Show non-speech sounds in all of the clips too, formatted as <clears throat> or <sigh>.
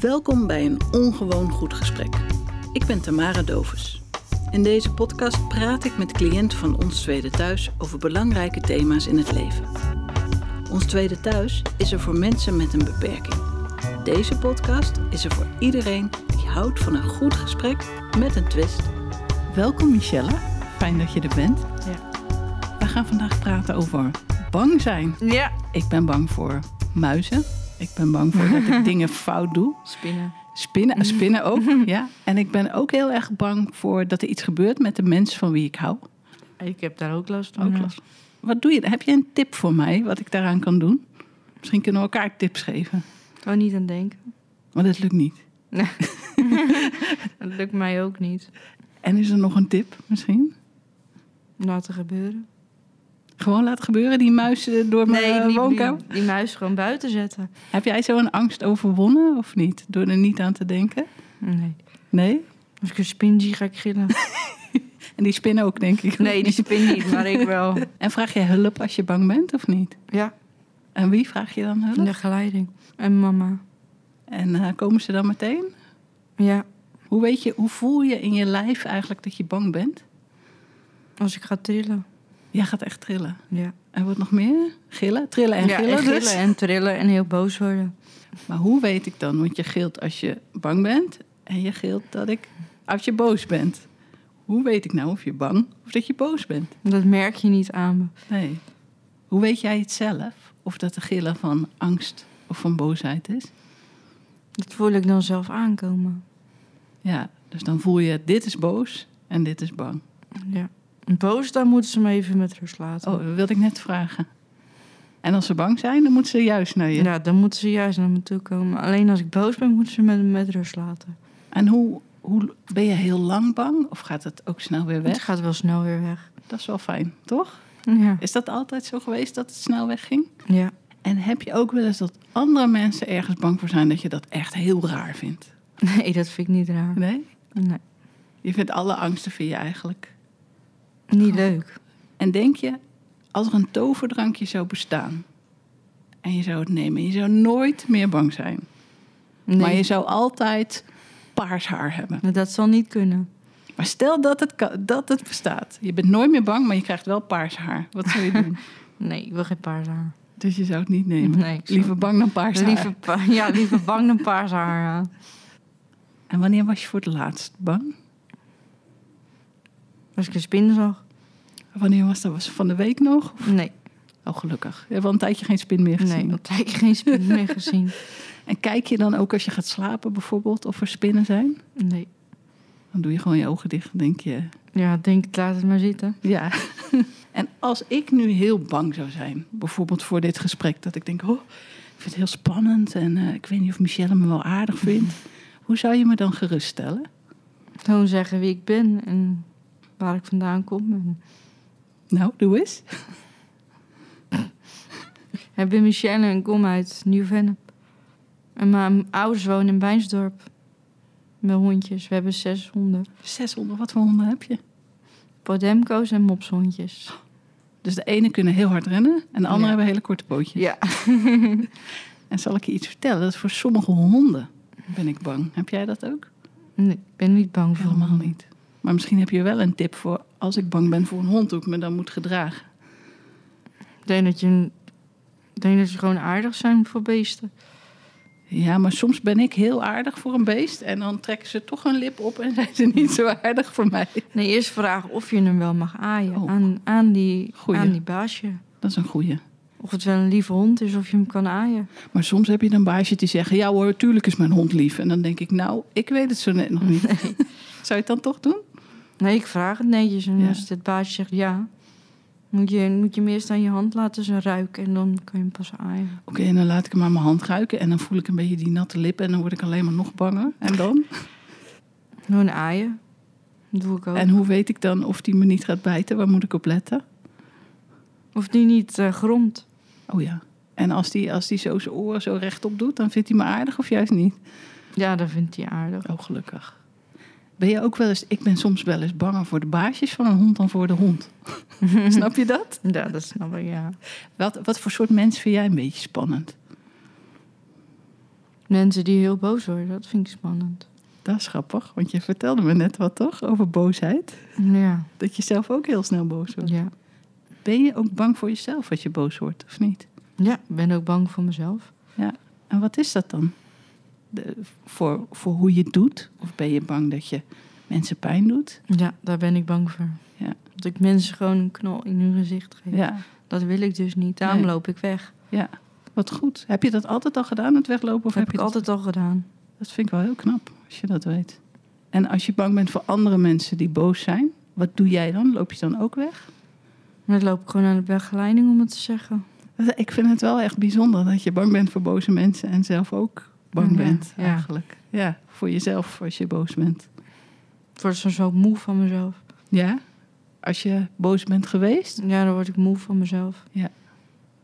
Welkom bij een ongewoon goed gesprek. Ik ben Tamara Doves. In deze podcast praat ik met cliënten van Ons Tweede Thuis over belangrijke thema's in het leven. Ons Tweede Thuis is er voor mensen met een beperking. Deze podcast is er voor iedereen die houdt van een goed gesprek met een twist. Welkom Michelle, fijn dat je er bent. We gaan vandaag praten over bang zijn. Ja. Ik ben bang voor muizen. Ik ben bang voor dat ik dingen fout doe. Spinnen. <laughs> Spinnen, spinnen ook, ja. En ik ben ook heel erg bang voor dat er iets gebeurt met de mensen van wie ik hou. Ik heb daar ook last van. Ook ja. last. Wat doe je? Heb je een tip voor mij wat ik daaraan kan doen? Misschien kunnen we elkaar tips geven. Gewoon Oh, niet aan denken. Maar dat lukt niet. Dat lukt mij ook niet. En is er nog een tip misschien? Laten gebeuren. Gewoon laat gebeuren, die muizen door mijn die, eh, woonkamer. die, die muis gewoon buiten zetten. Heb jij zo'n angst overwonnen of niet? Door er niet aan te denken? Nee. Nee? Als ik een spin zie, ga ik gillen. En die spinnen ook, denk ik. <laughs> Nee, die spin niet, <laughs> maar ik wel. En vraag je hulp als je bang bent of niet? Ja, En wie vraag je dan hulp? in de geleiding. En mama. En eh, komen ze dan meteen? Ja, Hoe weet je, hoe voel je in je lijf eigenlijk dat je bang bent? als ik ga trillen. Jij gaat echt trillen. Ja, En wat nog meer? Gillen? Trillen en ja gillen, en dus. en trillen en heel boos worden. Maar hoe weet ik dan? Want je gilt als je bang bent en je gilt dat ik als je boos bent. Hoe weet ik nou of je bang of dat je boos bent? Dat merk je niet aan me. Nee. Hoe weet jij het zelf? Of dat de gillen van angst of van boosheid is? Dat voel ik dan zelf aankomen. Ja, dus dan voel je dit is boos en dit is bang. Ja. Boos, dan moeten ze me even met rust laten. Oh, dat wilde ik net vragen. En als ze bang zijn, dan moeten ze juist naar je. Ja, Nou, dan moeten ze juist naar me toe komen. Alleen als ik boos ben, moeten ze me met rust laten. En hoe, hoe ben je heel lang bang of gaat het ook snel weer Het weg? gaat wel snel weer weg. Dat is wel fijn, toch? Ja. Is dat altijd zo geweest dat het snel wegging? ja. <laughs> En heb je ook wel eens dat andere mensen ergens bang voor zijn dat je dat echt heel raar vindt? Nee, dat vind ik niet raar. Nee? Nee. Je vindt alle angsten vind je eigenlijk. Niet leuk. En denk je, als er een toverdrankje zou bestaan en je zou het nemen, je zou nooit meer bang zijn. Nee, Maar je zou altijd paars haar hebben. dat zal niet kunnen. Maar stel dat het, kan- dat het bestaat. Je bent nooit meer bang, maar je krijgt wel paars haar. Wat zou je doen? Nee, ik wil geen paars haar. Dus je zou het niet nemen. Nee, ik zou- Liever bang dan paars haar. Liever pa- <laughs> ja, liever bang dan paars haar. ja. En wanneer was je voor het laatst bang? Als ik een spin zag. Wanneer was dat? Was het van de week nog? Nee, Oh, gelukkig. Je hebt al een tijdje geen spin meer gezien. nee. Dat heb ik geen spin meer gezien. En kijk je dan ook als je gaat slapen bijvoorbeeld of er spinnen zijn? Nee. Dan doe je gewoon je ogen dicht en denk je... Ja, ik denk ik, laat het maar zitten. Ja. <laughs> en als ik nu heel bang zou zijn, bijvoorbeeld voor dit gesprek... dat ik denk, oh, ik vind het heel spannend... en eh, ik weet niet of Michelle me wel aardig <laughs> vindt. Hoe zou je me dan geruststellen? Gewoon zeggen wie ik ben en waar ik vandaan kom. En Nou, doe eens. Ik ben Michelle en ik kom uit Nieuw-Vennep. En mijn ouders wonen in Bijnsdorp. Met hondjes. We hebben zes honden. 600, wat voor honden heb je? Podemco's en mopshondjes. Dus de ene kunnen heel hard rennen en de andere Ja. hebben hele korte pootjes. Ja. En zal ik je iets vertellen? Dat is voor sommige honden ben ik bang. Heb jij dat ook? Nee, ik ben niet bang voor Helemaal honden. niet. Maar misschien heb je wel een tip voor als ik bang ben voor een hond, hoe ik me dan moet gedragen. Ik denk dat, je, een- ik denk dat ze gewoon aardig zijn voor beesten. Ja, maar soms ben ik heel aardig voor een beest en dan trekken ze toch hun lip op en <laughs> zijn ze niet zo aardig voor mij. Nee, eerst vragen of je hem wel mag aaien. Oh. Aan, aan, die, Goeie. aan die baasje. Dat is een goeie. Of het wel een lieve hond is of je hem kan aaien. Maar soms heb je dan baasje die zeggen, ja hoor, tuurlijk is mijn hond lief. En dan denk ik, nou, ik weet het zo net nog niet. <laughs> Zou je het dan toch doen? Nee, ik vraag het netjes. En Ja. als het baasje zegt ja, moet je, moet je hem eerst aan je hand laten ze ruiken. En dan kan je hem pas aaien. Oké, en dan laat ik hem aan mijn hand ruiken en dan voel ik een beetje die natte lippen en dan word ik alleen maar nog banger. En dan? Gewoon aaien. Dat doe ik ook. En hoe weet ik dan of die me niet gaat bijten? Waar moet ik op letten? Of die niet eh gromt. Oh ja. En als die, als die zo zijn oren zo rechtop doet, dan vindt hij me aardig of juist niet? Ja, dat vindt hij aardig. Oh, gelukkig. Ben je ook wel eens... Ik ben soms wel eens banger voor de baasjes van een hond dan voor de <laughs> hond. Snap je dat? Ja, dat snap ik, ja. Wat, wat voor soort mens vind jij een beetje spannend? Mensen die heel boos worden, dat vind ik spannend. Dat is grappig, want je vertelde me net wat toch over boosheid. Ja, Dat je zelf ook heel snel boos wordt. ja. Ben je ook bang voor jezelf als je boos wordt, of niet? Ja, ik ben ook bang voor mezelf. En wat is dat dan? De- voor, voor hoe je het doet? Of ben je bang dat je mensen pijn doet? Ja, daar ben ik bang voor. Ja. Dat ik mensen gewoon een knal in hun gezicht geef. Ja, Dat wil ik dus niet. Daarom Nee. loop ik weg. ja. Wat goed. Heb je dat altijd al gedaan, het weglopen? Of Dat heb heb ik je dat- altijd al gedaan. Dat vind ik wel heel knap, als je dat weet. En als je bang bent voor andere mensen die boos zijn, wat doe jij dan? Loop je dan ook weg? Maar dan loop ik gewoon aan de begeleiding om het te zeggen. Dat- Ik vind het wel echt bijzonder dat je bang bent voor boze mensen en zelf ook bang Ja, bent, ja. eigenlijk. Ja, voor jezelf als je boos bent. Ik word soms ook moe van mezelf. Ja? Als je boos bent geweest, Ja, dan word ik moe van mezelf.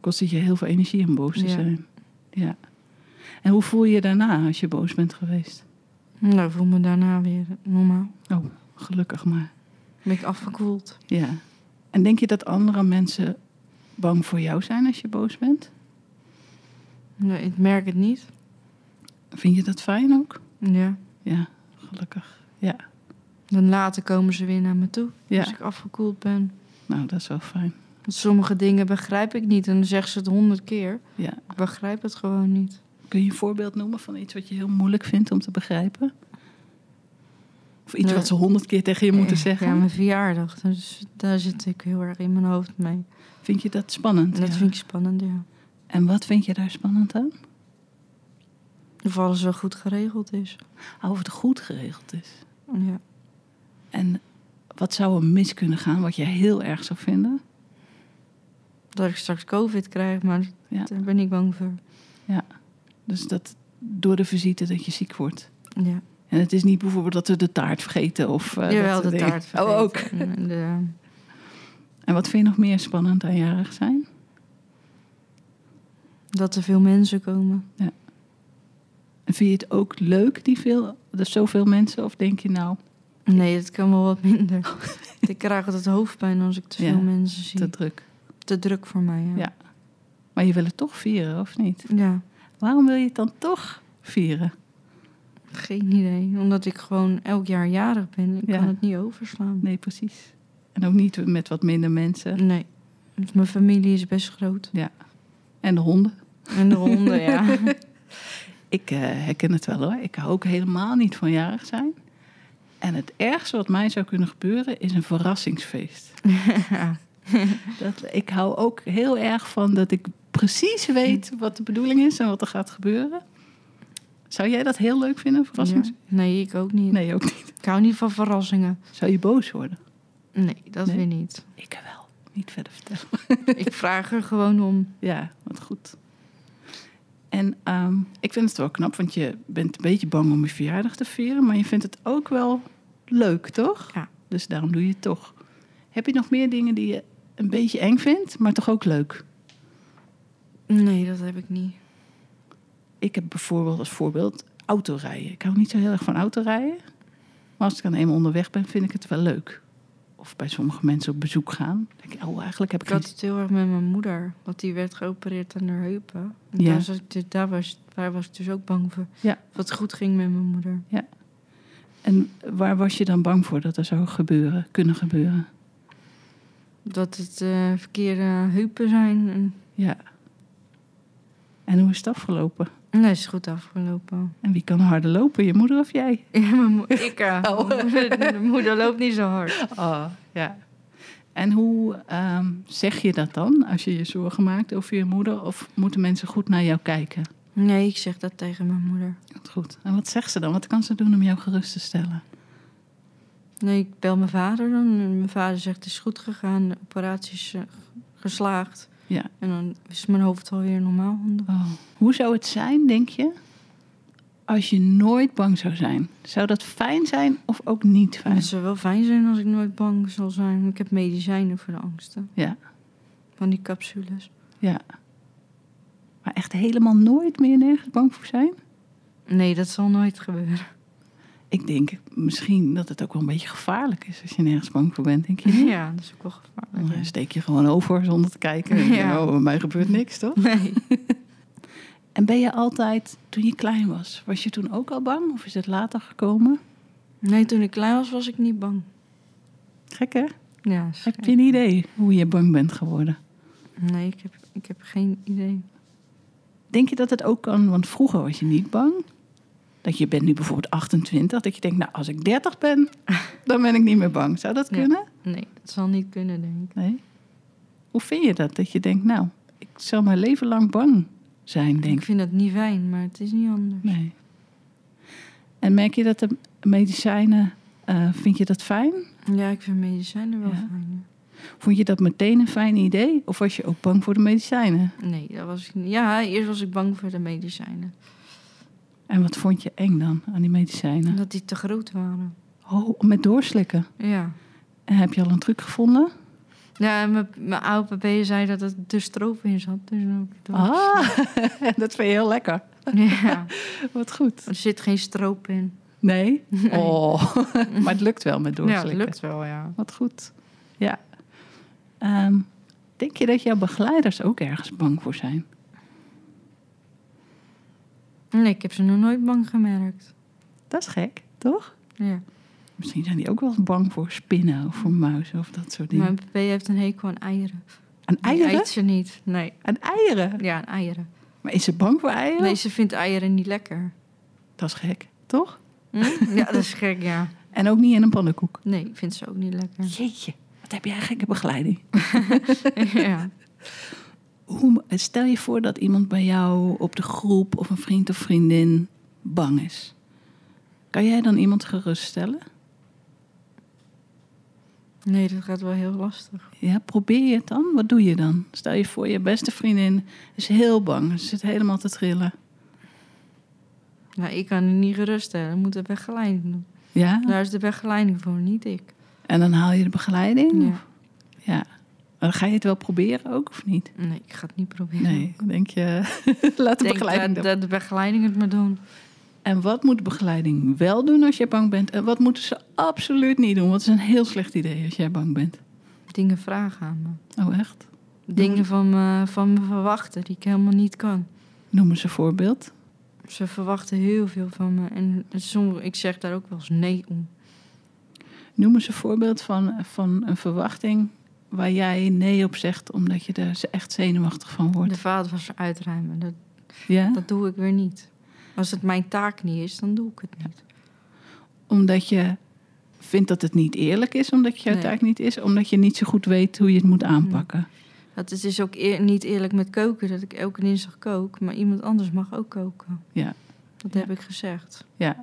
kost het je heel veel energie om boos te Ja. zijn. Ja. En hoe voel je je daarna als je boos bent geweest? Nou, ik voel me daarna weer normaal. Gelukkig maar. Dan ben ik afgekoeld. Ja. En denk je dat andere mensen bang voor jou zijn als je boos bent? Nee, ik merk het niet. Vind je dat fijn ook? Ja. Ja, gelukkig. Ja, Dan later komen ze weer naar me toe. Als ja. ik afgekoeld ben. nou dat is wel fijn. Want sommige dingen begrijp ik niet. En dan zeggen ze het honderd keer. Ja. Ik begrijp het gewoon niet. Kun je een voorbeeld noemen van iets wat je heel moeilijk vindt om te begrijpen? Of iets Nee. wat ze honderd keer tegen je moeten Ja, zeggen? Ja, mijn verjaardag. Dus daar zit ik heel erg in mijn hoofd mee. Vind je dat spannend? En dat Ja. vind ik spannend, ja. En wat vind je daar spannend aan? Of alles wel goed geregeld is. Ah, Of het goed geregeld is. Ja. En wat zou er mis kunnen gaan, wat je heel erg zou vinden? Dat ik straks COVID krijg, maar Ja. daar ben ik bang voor. Dus dat door de visite dat je ziek wordt. Ja. En het is niet bijvoorbeeld dat we de taart vergeten of... eh, dat Jawel, soort de dingen. taart Oh, vergeten. ook. En eh, de- En wat vind je nog meer spannend aan jarig zijn? dat er veel mensen komen. En vind je het ook leuk, die veel, dat zoveel mensen? Of denk je nou, Nee, dat kan wel wat <laughs> minder. ik krijg altijd hoofdpijn als ik te Ja, veel mensen zie. te druk? Te druk voor mij, ja. Ja. Maar je wil het toch vieren, of niet? Ja, Waarom wil je het dan toch vieren? geen idee. Omdat ik gewoon elk jaar jarig ben. Ik Ja. kan het niet overslaan. Nee, precies. En ook niet met wat minder mensen. nee. Want Mijn familie is best groot. En de honden. En de honden, <laughs> ja. Ik eh, herken het wel hoor. Ik hou ook helemaal niet van jarig zijn. En het ergste wat mij zou kunnen gebeuren is een verrassingsfeest. Dat, ik hou ook heel erg van dat ik precies weet wat de bedoeling is en wat er gaat gebeuren. Zou jij dat heel leuk vinden, een Ja. verrassingsfeest? Nee, ik ook niet. Nee, ook niet. Ik hou niet van verrassingen. Zou je boos worden? Nee, dat Nee? weer niet. Ik wel. Niet verder vertellen. <laughs> Ik vraag er gewoon om. Ja, wat goed. En ehm, ik vind het wel knap, want je bent een beetje bang om je verjaardag te vieren, maar je vindt het ook wel leuk, toch? Ja. Dus daarom doe je het toch. Heb je nog meer dingen die je een beetje eng vindt, maar toch ook leuk? Nee, dat heb ik niet. Ik heb bijvoorbeeld als voorbeeld autorijden. Ik hou niet zo heel erg van autorijden, maar als ik dan eenmaal onderweg ben, vind ik het wel leuk. Of bij sommige mensen op bezoek gaan. Dan denk ik, oh, eigenlijk heb ik Ik had geen- het heel erg met mijn moeder. Want die werd geopereerd aan haar heupen. En Ja. daar, zat ik dus- daar, was, daar was ik dus ook bang voor. Ja. Wat goed ging met mijn moeder. En waar was je dan bang voor dat er zou gebeuren, kunnen gebeuren? Dat het eh, verkeerde heupen zijn. En, Ja. En hoe is het afgelopen? nee, is goed afgelopen. <laughs> En wie kan harder lopen, je moeder of jij? Ja, mijn mo- ik, eh, Oh. mijn <laughs> moeder, mijn moeder loopt niet zo hard. Oh, ja. En hoe ehm, zeg je dat dan als je je zorgen maakt over je moeder? Of moeten mensen goed naar jou kijken? Nee, ik zeg dat tegen mijn moeder. Dat goed. En wat zegt ze dan? Wat kan ze doen om jou gerust te stellen? Nee, ik bel mijn vader dan. En mijn vader zegt, het is goed gegaan. De operatie is eh, geslaagd. Ja. En dan is mijn hoofd alweer normaal. Oh. Hoe zou het zijn, denk je, als je nooit bang zou zijn? Zou dat fijn zijn of ook niet fijn? Het zou wel fijn zijn als ik nooit bang zal zijn. want Ik heb medicijnen voor de angsten. Ja. Van die capsules. Maar echt helemaal nooit meer nergens bang voor zijn? Nee, dat zal nooit gebeuren. Ik denk misschien dat het ook wel een beetje gevaarlijk is als je nergens bang voor bent, denk je? <laughs> niet? <laughs> Ja, dat is ook wel gevaarlijk. Dan ja. <laughs> steek je gewoon over zonder te kijken. Ja. Oh, bij mij gebeurt niks, toch? Nee. En ben je altijd, toen je klein was, was je toen ook al bang? Of is het later gekomen? Nee, toen ik klein was, was ik niet bang. Gek hè? Ja, Heb je een idee hoe je bang bent geworden? Nee, ik heb, ik heb geen idee. Denk je dat het ook kan? Want vroeger was je niet bang. Dat je bent nu bijvoorbeeld 28, dat je denkt, nou als ik 30 <laughs> ben, dan ben ik niet meer bang. Zou dat Ja. kunnen? Nee, dat zal niet kunnen, denk ik. Nee. Hoe vind je dat? Dat je denkt, nou, ik zal mijn leven lang bang zijn, denk Ik vind dat niet fijn, maar het is niet anders. Nee. En merk je dat de medicijnen, eh, vind je dat fijn? Ja, ik vind medicijnen wel Ja. fijn. Vond je dat meteen een fijn idee? Of was je ook bang voor de medicijnen? ja. Nee, dat was ik niet. Ja, eerst was ik bang voor de medicijnen. En wat vond je eng dan aan die medicijnen? Dat die te groot waren. Oh, met doorslikken. Ja. En heb je al een truc gevonden? Ja, en mijn- mijn oude papa zei dat het de stroop in zat. Dus dan heb ik het wel Ah, <laughs> dat vind je heel lekker. gezien. <laughs> Ja, Wat goed. er zit geen stroop in. Nee? Oh, <laughs> maar het lukt wel met Ja, doorslikken. dat lukt wel, ja. Wat goed. Ja. Ehm, denk je dat jouw begeleiders ook ergens bang voor zijn? Nee, ik heb ze nog nooit bang gemerkt. Dat is gek, toch? Ja. Misschien zijn die ook wel eens bang voor spinnen of voor muizen of dat soort dingen. Mijn pp heeft een hekel aan eieren. En Die eieren? eet ze niet. Nee, En eieren? ja, aan eieren. Maar is ze bang voor eieren? Nee, ze vindt eieren niet lekker. Dat is gek, toch? Hm? <laughs> Ja, dat is gek, ja. En ook niet in een pannenkoek. Nee, ik vind ze ook niet <laughs> lekker. Jeetje, wat heb jij gekke begeleiding. ja. Hoe, stel je voor dat iemand bij jou op de groep of een vriend of vriendin bang is. Kan jij dan iemand geruststellen? Nee, dat gaat wel heel lastig. Ja, probeer je het dan? Wat doe je dan? Stel je voor, je beste vriendin is heel bang. Ze zit helemaal te trillen. Nou, ik kan het niet geruststellen. Ik moet de begeleiding doen. Ja? Daar is de begeleiding voor, niet ik. En dan haal je de begeleiding? Ja. Of- ja. Maar ga je het wel proberen ook, of niet? Nee, ik ga het niet proberen. Nee, dan denk je, <laughs> laat de Ik denk begeleiding dat, doen. dat de begeleiding het maar doen. En wat moet de begeleiding wel doen als jij bang bent? En wat moeten ze absoluut niet doen? Want het is een heel slecht idee als jij bang bent. Dingen vragen aan me. Oh, echt? Dingen van me, van me verwachten die ik helemaal niet kan. Noem eens een voorbeeld. Ze verwachten heel veel van me. En sommige, ik zeg daar ook wel eens nee om. Noem eens een voorbeeld van, van een verwachting waar jij nee op zegt... omdat je er echt zenuwachtig van wordt. De vader was uitruimen. Dat, Ja? dat doe ik weer niet. Als het mijn taak niet is, dan doe ik het niet. Omdat je vindt dat het niet eerlijk is, omdat je het Nee. Mm-hmm. taak niet is, omdat je niet zo goed weet hoe je het moet aanpakken. Dat het is dus ook eer- niet eerlijk met koken dat ik elke dinsdag kook, maar iemand anders mag ook koken. Ja. Dat heb ik gezegd. Ja.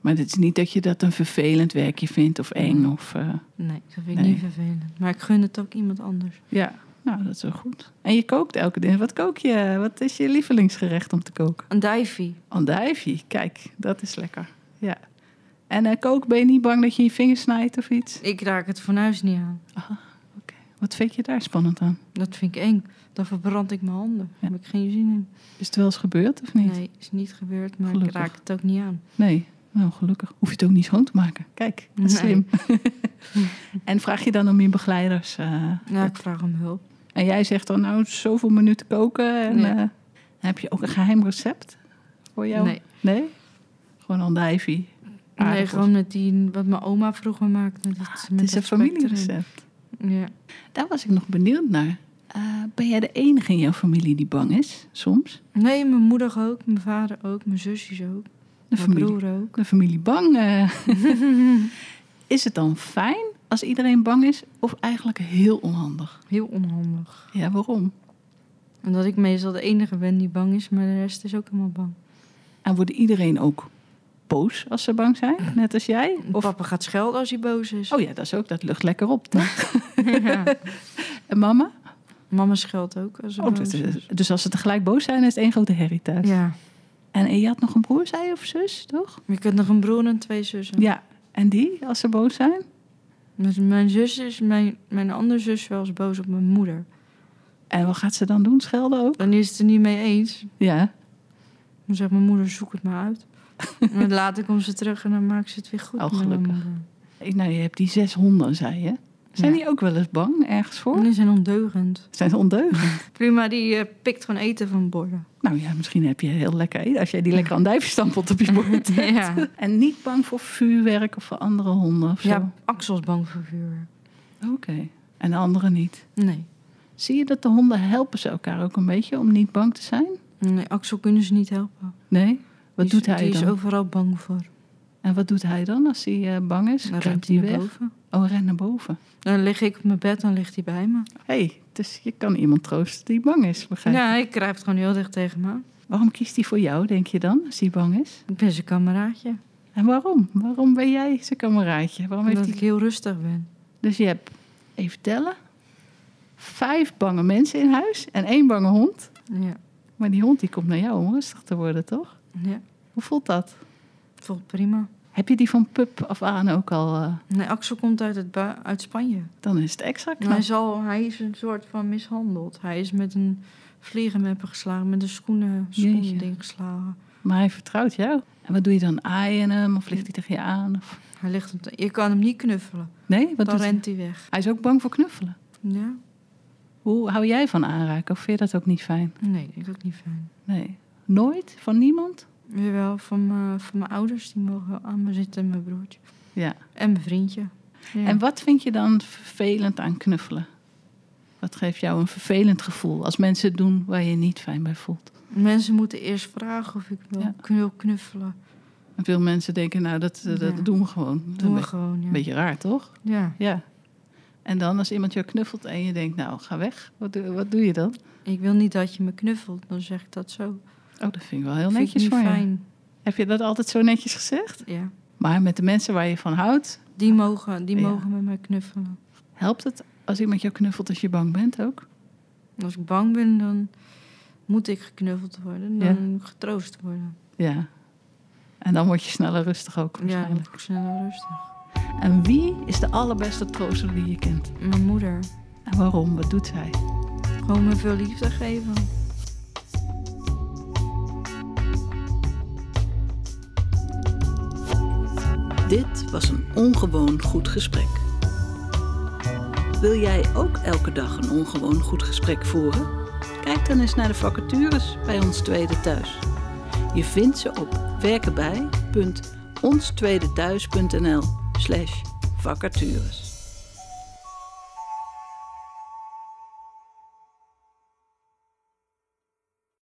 Maar het is niet dat je dat een vervelend werkje vindt of Mm-hmm. eng. Of, eh, Nee, dat vind ik Nee. niet vervelend. Maar ik gun het ook iemand anders. ja, nou, dat is wel goed. En je kookt elke dag. Wat kook je? Wat is je lievelingsgerecht om te koken? Een dijfie. Andijvie, kijk, dat is lekker. Ja. En eh, kook, ben je niet bang dat je je vingers snijdt of iets? Ik raak het fornuis niet aan. Wat vind je daar spannend aan? Dat vind ik eng. Dan verbrand ik mijn handen. Daar heb ik geen zin in. Is het wel eens gebeurd of niet? Nee, is niet gebeurd, maar Gelukkig. ik raak het ook niet aan. Nee, nou gelukkig. Hoef je het ook niet schoon te maken. Kijk, dat is Nee. <laughs> slim. en vraag je dan om je begeleiders. eh, Nou, ik dat- vraag om hulp. En jij zegt dan nou zoveel minuten koken. En, Nee. eh, heb je ook een geheim recept voor jou? Nee. Nee? Gewoon andijvie. nee, aardappels. gewoon met die, wat mijn oma vroeger maakte. Dat, Ah, Het met is een dat spek erin. familierecept. Ja. Daar was ik nog benieuwd naar. Eh, ben jij de enige in jouw familie die bang is? Soms? Nee, mijn moeder ook, mijn vader ook, mijn zusjes ook, De mijn familie, broer ook. de familie bang. eh. <laughs> is het dan fijn als iedereen bang is? Of eigenlijk heel onhandig? Heel onhandig. Ja, waarom? Omdat ik meestal de enige ben die bang is, maar de rest is ook helemaal bang. En wordt iedereen ook boos als ze bang <clears throat> zijn, net als jij? Of, Papa gaat schelden als hij boos is. oh ja, dat is ook, dat lucht lekker op. Dan. <laughs> Ja. En mama? <laughs> Mama scheldt ook als ze Oh, boos dat is. is, dus als ze tegelijk boos zijn, is het één grote herrie thuis. Ja. En je had nog een broer, zei je, of zus, toch? Je kunt nog een broer en twee zussen. Ja. En die, als ze boos zijn? Dus mijn zus is, mijn, mijn andere zus wel eens boos op mijn moeder. En wat gaat ze dan doen? Schelden ook? Dan is het er niet mee eens. Ja. Dan zegt mijn moeder, zoek het maar <laughs> uit. en later komt ze terug en dan maakt ze het weer goed Oh, met mijn gelukkig. moeder. Ik- Nou, je hebt die zes honden, zei je. Zijn Ja. die ook wel eens bang ergens voor? Die zijn ondeugend. Zijn ze ondeugend? Prima, die eh, pikt gewoon eten van borden. nou ja, misschien heb je heel lekker eten als jij die lekker andijvenstampelt op je <laughs> bord. <laughs> ja. En niet bang voor vuurwerk of voor andere honden of zo? ja, Axel is bang voor vuurwerk. Oké. En de anderen niet. Nee. Zie je dat de honden helpen ze elkaar ook een beetje om niet bang te zijn? nee, Axel kunnen ze niet helpen. Nee? Wat Die is- doet hij Die dan? is overal bang voor. En wat doet hij dan als hij eh, bang is? Dan Kruipt ruimt hij hij naar weg? boven. Oh, ren naar boven. Dan lig ik op mijn bed, dan ligt hij bij me. Hé, hey, dus je kan iemand troosten die bang is, begrijp je? Ja, hij kruipt gewoon heel dicht tegen me. Waarom kiest hij voor jou, denk je dan, als hij bang is? Ik ben zijn kameraadje. En waarom? Waarom ben jij zijn kameraadje? Waarom heeft Omdat hij... ik heel rustig ben. Dus je hebt, even tellen, vijf bange mensen in huis en één bange hond. Ja. Maar die hond die komt naar jou om rustig te worden, toch? ja. Hoe voelt dat? Het voelt prima. Heb je die van pup af aan ook al? eh, Nee, Axel komt uit, het bui- uit Spanje. dan is het extra knap. Hij, is al, hij is een soort van mishandeld. Hij is met een vliegenmepper geslagen, met een schoenen, Jeetje. schoenen ding geslagen. Maar hij vertrouwt jou. En wat doe je dan? Aai je hem of ligt hij tegen je aan? Of... Hij ligt op de- je kan hem niet knuffelen. Nee, wat dan doet hij? rent hij weg. Hij is ook bang voor knuffelen. Ja? Hoe hou jij van aanraken? Of vind je dat ook niet fijn? Nee, ik ook niet fijn. Nee. Nooit? Van niemand? Jawel, van, mijn- van mijn ouders, die mogen aan me zitten, en mijn broertje. Ja. En mijn vriendje. Ja. En wat vind je dan vervelend aan knuffelen? Wat geeft jou een vervelend gevoel als mensen het doen waar je je niet fijn bij voelt? Mensen moeten eerst vragen of ik wil Ja. wil knuffelen. En veel mensen denken, nou, dat, dat Ja. doen we gewoon. Dat is Doe een maar beetje, gewoon, ja. een beetje raar, toch? Ja, Ja. En dan als iemand jou knuffelt en je denkt, nou, ga weg. Wat doe, wat doe je dan? ik wil niet dat je me knuffelt, dan zeg ik dat zo. Oh, dat vind ik wel heel Vind ik netjes niet van je. fijn. Heb je dat altijd zo netjes gezegd? Ja. Maar met de mensen waar je van houdt, Die mogen, die Ja. mogen met mij knuffelen. helpt het als iemand jou knuffelt als je bang bent ook? Als ik bang ben, dan moet ik geknuffeld worden. Dan getroost worden. Ja. En dan word je sneller rustig ook Ja, dan waarschijnlijk. word ik sneller rustig. En wie is de allerbeste trooster die je kent? Mijn moeder, En waarom? Wat doet zij? gewoon me veel liefde geven. Dit was een ongewoon goed gesprek. Wil jij ook elke dag een ongewoon goed gesprek voeren? Kijk dan eens naar de vacatures bij Ons Tweede Thuis. Je vindt ze op werkenbij.onstweedethuis.nl slash vacatures.